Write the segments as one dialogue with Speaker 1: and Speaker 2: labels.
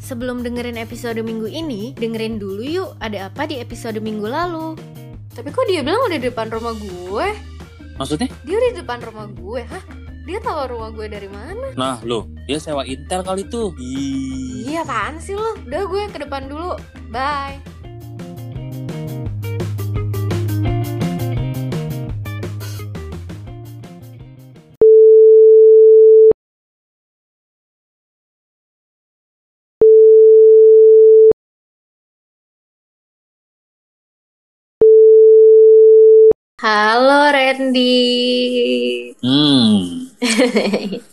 Speaker 1: sebelum dengerin episode minggu ini, dengerin dulu yuk ada apa di episode minggu lalu.
Speaker 2: Tapi kok dia bilang udah di depan rumah gue?
Speaker 3: Maksudnya?
Speaker 2: Dia udah di depan rumah gue, hah? Dia tahu rumah gue dari mana?
Speaker 3: Nah, loh, dia sewa intel kali tuh. Ih.
Speaker 2: Iya, apaan sih lo? Udah gue ke depan dulu. Bye. Halo Randy.
Speaker 3: Hmm.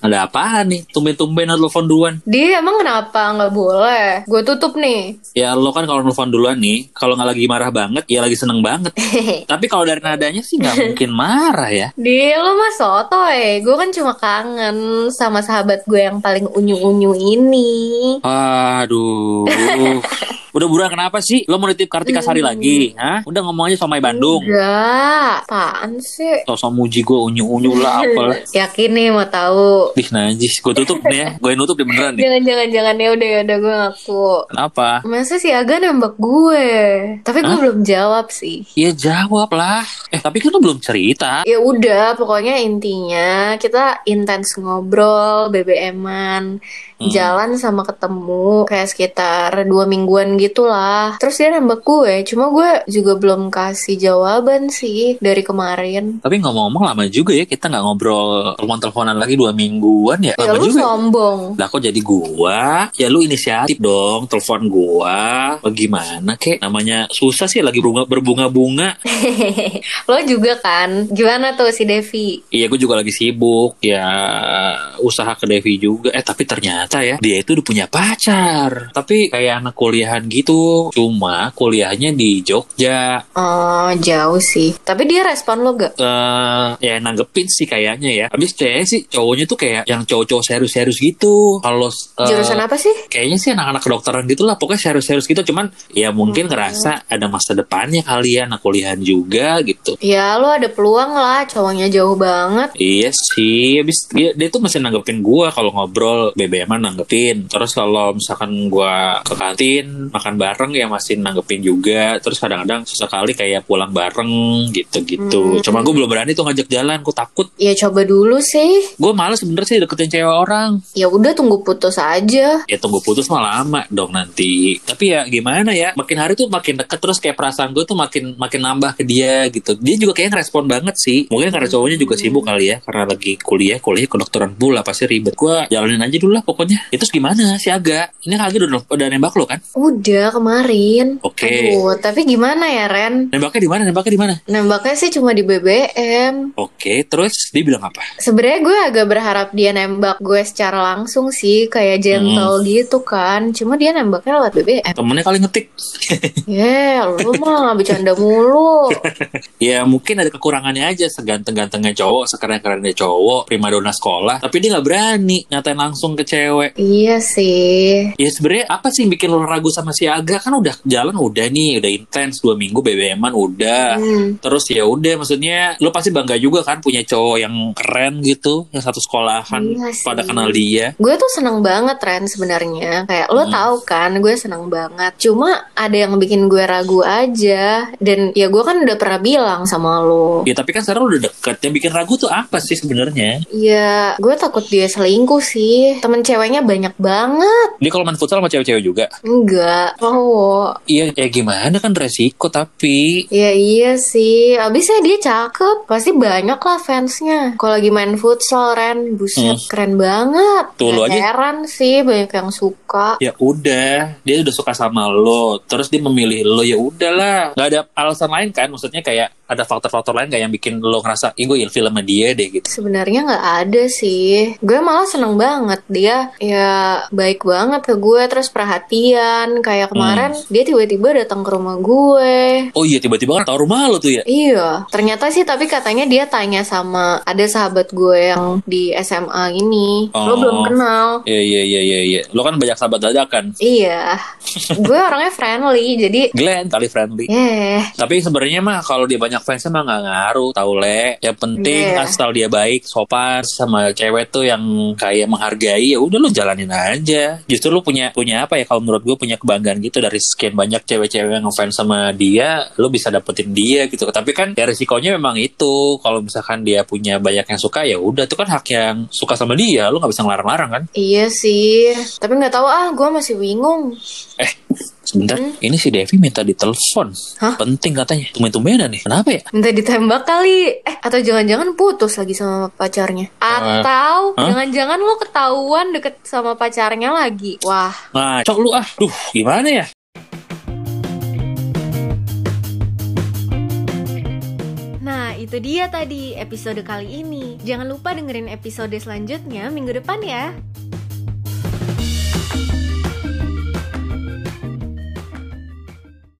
Speaker 3: Ada apaan nih? Tumben-tumben lo telepon duluan.
Speaker 2: Dia emang kenapa nggak boleh? Gue tutup nih.
Speaker 3: Ya lo kan kalau nelfon duluan nih, kalau nggak lagi marah banget, ya lagi seneng banget. Tapi kalau dari nadanya sih nggak mungkin marah ya.
Speaker 2: Di lo mah sotoy. Gue kan cuma kangen sama sahabat gue yang paling unyu-unyu ini.
Speaker 3: Aduh. Udah buruan kenapa sih? Lo mau nitip Kartika Sari lagi? Hah? Udah ngomong aja sama Bandung.
Speaker 2: Enggak, apaan sih?
Speaker 3: Sosok muji gue unyu-unyu lah apalah.
Speaker 2: Yakin nih mau tahu.
Speaker 3: Ih najis, gue tutup nih ya. Gue nutup deh beneran nih.
Speaker 2: Jangan-jangan jangan ya udah ya udah gue ngaku.
Speaker 3: Kenapa?
Speaker 2: Masa si Aga nembak gue? Tapi gue
Speaker 3: Hah?
Speaker 2: belum jawab sih.
Speaker 3: Ya jawab lah. Eh tapi kan lo belum cerita.
Speaker 2: Ya udah, pokoknya intinya kita intens ngobrol, BBM-an,
Speaker 3: Hmm.
Speaker 2: jalan sama ketemu kayak sekitar dua mingguan gitulah. Terus dia nembak gue, cuma gue juga belum kasih jawaban sih dari kemarin.
Speaker 3: Tapi ngomong-ngomong lama juga ya kita nggak ngobrol telepon-teleponan lagi dua mingguan ya.
Speaker 2: Ya
Speaker 3: Lama
Speaker 2: lu
Speaker 3: juga.
Speaker 2: sombong.
Speaker 3: Lah kok jadi gua? Ya lu inisiatif dong, telepon gua. Bagaimana kek? Namanya susah sih lagi berbunga- berbunga-bunga.
Speaker 2: Lo juga kan? Gimana tuh si Devi?
Speaker 3: Iya gua juga lagi sibuk ya usaha ke Devi juga. Eh tapi ternyata ya dia itu udah punya pacar. Tapi kayak anak kuliahan gitu. Cuma kuliahnya di Jogja.
Speaker 2: Oh, jauh sih. Tapi dia respon lo gak?
Speaker 3: eh ya nanggepin sih kayaknya ya. Habis cewek sih cowoknya tuh kayak yang cowok-cowok serius-serius gitu. Kalau eh,
Speaker 2: Jurusan apa sih?
Speaker 3: kayaknya sih anak-anak kedokteran gitu lah pokoknya serius-serius gitu cuman ya
Speaker 2: Hmm.
Speaker 3: mungkin ngerasa ada masa depannya kali ya anak kuliahan juga gitu
Speaker 2: Ya lo ada peluang lah, cowoknya jauh banget.
Speaker 3: Iya sih, habis dia, dia tuh masih nanggepin gua kalau ngobrol BBM -an nanggepin. Terus kalau misalkan gua ke kantin makan bareng ya masih nanggepin juga. Terus kadang-kadang sesekali kayak pulang bareng gitu-gitu.
Speaker 2: Hmm.
Speaker 3: Cuma gua belum berani tuh ngajak jalan, gua takut.
Speaker 2: Ya coba dulu sih.
Speaker 3: Gua males bener sih deketin cewek orang.
Speaker 2: Ya udah tunggu putus aja.
Speaker 3: ya tunggu putus mah lama dong nanti tapi ya gimana ya makin hari tuh makin deket terus kayak perasaan gue tuh makin makin nambah ke dia gitu dia juga kayaknya ngerespon banget sih mungkin karena cowoknya juga sibuk kali ya karena lagi kuliah kuliah kedokteran pula pasti ribet gue jalanin aja dulu lah pokoknya itu gimana si Aga ini Aga udah, udah nembak lo kan
Speaker 2: Udah kemarin.
Speaker 3: Oke.
Speaker 2: Aduh, tapi gimana ya Ren?
Speaker 3: nembaknya di mana nembaknya di mana
Speaker 2: Nembaknya sih cuma di BBM.
Speaker 3: Oke, terus dia bilang apa?
Speaker 2: Sebenarnya gue agak berharap dia nembak gue secara langsung sih, kayak gentle
Speaker 3: Hmm.
Speaker 2: gitu kan. Cuma dia nembaknya lewat BBM.
Speaker 3: Temennya kali ngetik.
Speaker 2: Ya, lu mah bercanda mulu.
Speaker 3: ya mungkin ada kekurangannya aja seganteng-gantengnya cowok, sekeren-kerennya cowok, primadona sekolah. Tapi dia nggak berani nyatain langsung ke cewek.
Speaker 2: Iya sih.
Speaker 3: Ya sebenarnya apa sih yang bikin lo ragu sama si Aga kan udah jalan udah nih udah intens dua minggu BBM-an udah
Speaker 2: Hmm.
Speaker 3: terus ya udah maksudnya lo pasti bangga juga kan punya cowok yang keren gitu yang satu sekolahan
Speaker 2: Iya sih.
Speaker 3: pada kenal dia
Speaker 2: Gue tuh seneng banget Ren sebenarnya. Kayak lo
Speaker 3: Hmm.
Speaker 2: tahu kan, gue seneng banget. Cuma ada yang bikin gue ragu aja. Dan ya gue kan udah pernah bilang sama lo.
Speaker 3: ya tapi kan sekarang udah deket yang bikin ragu tuh apa sih sebenarnya
Speaker 2: Ya, gue takut dia selingkuh sih. Temen ceweknya banyak banget.
Speaker 3: dia kalau main futsal sama cewek-cewek juga
Speaker 2: Enggak, cowok.
Speaker 3: iya ya gimana kan resiko tapi
Speaker 2: Ya iya sih, abisnya dia cakep, pasti banyak lah fansnya. Kalau lagi main futsal, Ren, buset, keren banget.
Speaker 3: Hmm. Tuh, lo
Speaker 2: Nggak
Speaker 3: aja.
Speaker 2: Heran sih, banyak yang suka.
Speaker 3: ya udah dia udah suka sama lo terus dia memilih lo ya udahlah nggak ada alasan lain kan maksudnya kayak ada faktor-faktor lain gak yang bikin lo ngerasa ih gue ilfil sama dia deh gitu
Speaker 2: Sebenarnya nggak ada sih. Gue malah seneng banget dia ya baik banget ke gue terus perhatian kayak
Speaker 3: Hmm.
Speaker 2: kemarin dia tiba-tiba datang ke rumah gue.
Speaker 3: Oh iya tiba-tiba kan tahu rumah lo tuh ya.
Speaker 2: Iya, ternyata sih tapi katanya dia tanya sama ada sahabat gue
Speaker 1: Oh.
Speaker 2: yang di SMA ini. Lo
Speaker 3: Oh.
Speaker 2: belum kenal.
Speaker 3: Iya iya iya iya iya. Lo kan banyak sahabat dadakan.
Speaker 2: Iya. gue orangnya friendly jadi
Speaker 3: Glenn kali friendly.
Speaker 2: eh
Speaker 3: Tapi sebenarnya mah kalau dia banyak banyak fansnya mah nggak ngaruh tau le yang penting
Speaker 2: Iya.
Speaker 3: asal dia baik sopan sama cewek tuh yang kayak menghargai ya udah lu jalanin aja justru lu punya punya apa ya kalau menurut gue punya kebanggaan gitu dari sekian banyak cewek-cewek yang ngefans sama dia lu bisa dapetin dia gitu tapi kan ya risikonya memang itu kalau misalkan dia punya banyak yang suka ya udah itu kan hak yang suka sama dia lu nggak bisa ngelarang-larang kan
Speaker 2: Iya sih, tapi nggak tahu ah, gue masih bingung.
Speaker 3: eh sebentar ini si Devi minta ditelepon
Speaker 2: Hmm. Hah?
Speaker 3: penting katanya tumben-tumbenan nih kenapa ya
Speaker 2: Minta ditembak kali, eh atau jangan-jangan putus lagi sama pacarnya? Atau
Speaker 3: Eh, Hah?
Speaker 2: jangan-jangan lo ketahuan deket sama pacarnya lagi? Wah,
Speaker 3: Ngaco lu ah. Duh, gimana ya?
Speaker 1: Nah, itu dia tadi episode kali ini. Jangan lupa dengerin episode selanjutnya minggu depan ya.